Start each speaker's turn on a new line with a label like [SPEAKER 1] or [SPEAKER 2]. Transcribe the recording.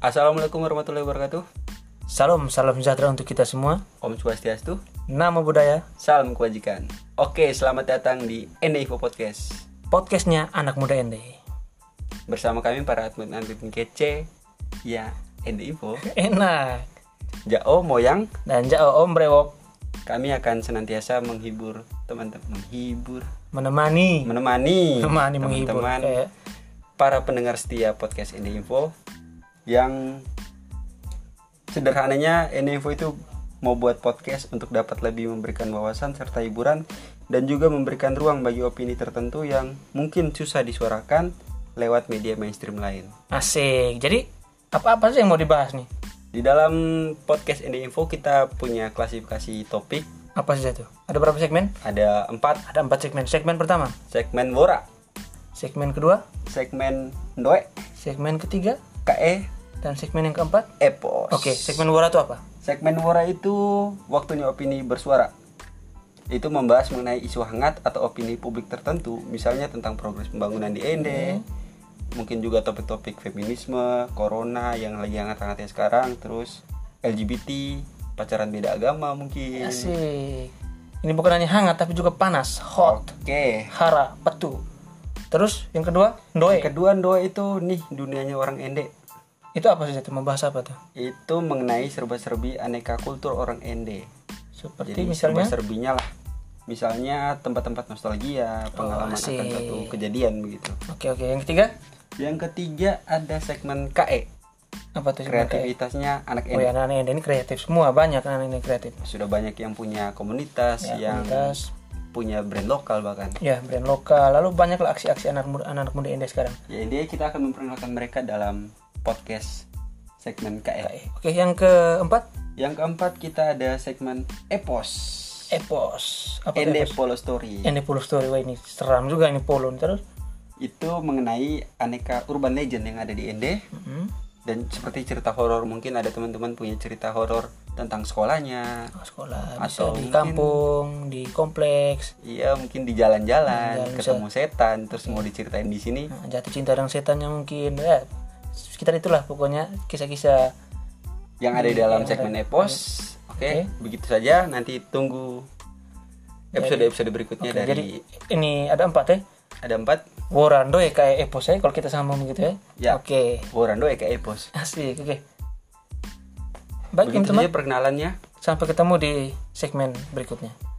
[SPEAKER 1] Assalamualaikum warahmatullahi wabarakatuh.
[SPEAKER 2] Salam, salam sejahtera untuk kita semua.
[SPEAKER 1] Om Swastiastu.
[SPEAKER 2] Nama budaya,
[SPEAKER 1] Salam kebajikan. Oke, selamat datang di NDIFO Podcast.
[SPEAKER 2] podcastnya anak muda ND.
[SPEAKER 1] Bersama kami para admin-admin kece ya NDIFO.
[SPEAKER 2] Enak.
[SPEAKER 1] Jao Moyang,
[SPEAKER 2] Dan jauh om brewok
[SPEAKER 1] kami akan senantiasa menghibur teman-teman, menghibur,
[SPEAKER 2] menemani,
[SPEAKER 1] menemani,
[SPEAKER 2] menemani menghibur. Eh,
[SPEAKER 1] teman-teman,
[SPEAKER 2] Kayak
[SPEAKER 1] para pendengar setia podcast NDIFO yang sederhananya NDIFO itu mau buat podcast untuk dapat lebih memberikan wawasan serta hiburan dan juga memberikan ruang bagi opini tertentu yang mungkin susah disuarakan lewat media mainstream lain.
[SPEAKER 2] asik. Jadi apa-apa sih yang mau dibahas nih?
[SPEAKER 1] Di dalam podcast ND Info kita punya klasifikasi topik.
[SPEAKER 2] Apa saja tuh? Ada berapa segmen?
[SPEAKER 1] Ada empat
[SPEAKER 2] Ada empat segmen. Segmen pertama,
[SPEAKER 1] segmen Bora,
[SPEAKER 2] segmen kedua,
[SPEAKER 1] segmen Ndoe,
[SPEAKER 2] segmen ketiga,
[SPEAKER 1] KE,
[SPEAKER 2] dan segmen yang keempat.
[SPEAKER 1] Epos.
[SPEAKER 2] Oke, segmen wara itu apa?
[SPEAKER 1] Segmen Wora itu waktunya opini bersuara. Itu membahas mengenai isu hangat atau opini publik tertentu, misalnya tentang progres pembangunan di Ende, mungkin juga topik-topik feminisme, corona yang lagi hangat-hangatnya sekarang, terus LGBT, pacaran beda agama mungkin.
[SPEAKER 2] Asik. Ini bukan hanya hangat tapi juga panas, hot,
[SPEAKER 1] Oke.
[SPEAKER 2] hara, petu. Terus yang kedua, doe.
[SPEAKER 1] Yang kedua Ndoa itu nih dunianya orang Ende.
[SPEAKER 2] Itu apa saja tuh? Membahas apa tuh?
[SPEAKER 1] Itu mengenai serba-serbi aneka kultur orang Ende.
[SPEAKER 2] Seperti
[SPEAKER 1] Jadi
[SPEAKER 2] misalnya
[SPEAKER 1] serba-serbinya lah. Misalnya tempat-tempat
[SPEAKER 2] Oh,
[SPEAKER 1] nostalgia, pengalaman akan
[SPEAKER 2] asik.
[SPEAKER 1] satu kejadian begitu.
[SPEAKER 2] Oke oke yang ketiga
[SPEAKER 1] Yang ketiga ada segmen KE,
[SPEAKER 2] apa tuh? Kreatif.
[SPEAKER 1] kreativitasnya anak
[SPEAKER 2] E. Oh ya
[SPEAKER 1] Ende.
[SPEAKER 2] anak ini kreatif semua banyak anak ini kreatif.
[SPEAKER 1] Sudah banyak yang punya komunitas,
[SPEAKER 2] Ya,
[SPEAKER 1] yang
[SPEAKER 2] komunitas,
[SPEAKER 1] punya brand lokal bahkan.
[SPEAKER 2] ya brand lokal. Lalu banyaklah aksi-aksi anak muda anak muda Ende sekarang.
[SPEAKER 1] Ya intinya kita akan memperkenalkan mereka dalam podcast segmen KE.
[SPEAKER 2] Oke, Oke yang keempat
[SPEAKER 1] Yang keempat kita ada segmen Epos.
[SPEAKER 2] epos apa tuh E
[SPEAKER 1] Ende
[SPEAKER 2] epos?
[SPEAKER 1] Polo Story.
[SPEAKER 2] Ende Polo Story wah ini seram juga ini Polo nih. terus.
[SPEAKER 1] Itu mengenai aneka urban legend yang ada di Ende.
[SPEAKER 2] Mhm.
[SPEAKER 1] Dan seperti cerita horor mungkin ada teman-teman punya cerita horor tentang sekolahnya.
[SPEAKER 2] Oh, sekolah bisa
[SPEAKER 1] Atau
[SPEAKER 2] di
[SPEAKER 1] mungkin-
[SPEAKER 2] kampung di kompleks
[SPEAKER 1] Iya mungkin di jalan-jalan
[SPEAKER 2] Jalan,
[SPEAKER 1] ketemu setan terus mau diceritain di sini
[SPEAKER 2] Nah, jatuh cinta dengan setannya mungkin ya sekitar itulah pokoknya kisah-kisah
[SPEAKER 1] yang ada di dalam segmen epos. Oke,
[SPEAKER 2] Iya, Oke.
[SPEAKER 1] begitu saja nanti tunggu episode-episode berikutnya
[SPEAKER 2] Oke,
[SPEAKER 1] dari
[SPEAKER 2] jadi ini ada empat ya
[SPEAKER 1] ada empat
[SPEAKER 2] Warando ya kayak epos ya kalau kita sambung gitu ya.
[SPEAKER 1] Ya.
[SPEAKER 2] Oke.
[SPEAKER 1] Borando Eka Epos.
[SPEAKER 2] Asik, oke. Baik
[SPEAKER 1] begitu saja
[SPEAKER 2] teman-teman,
[SPEAKER 1] perkenalannya.
[SPEAKER 2] sampai ketemu di segmen berikutnya.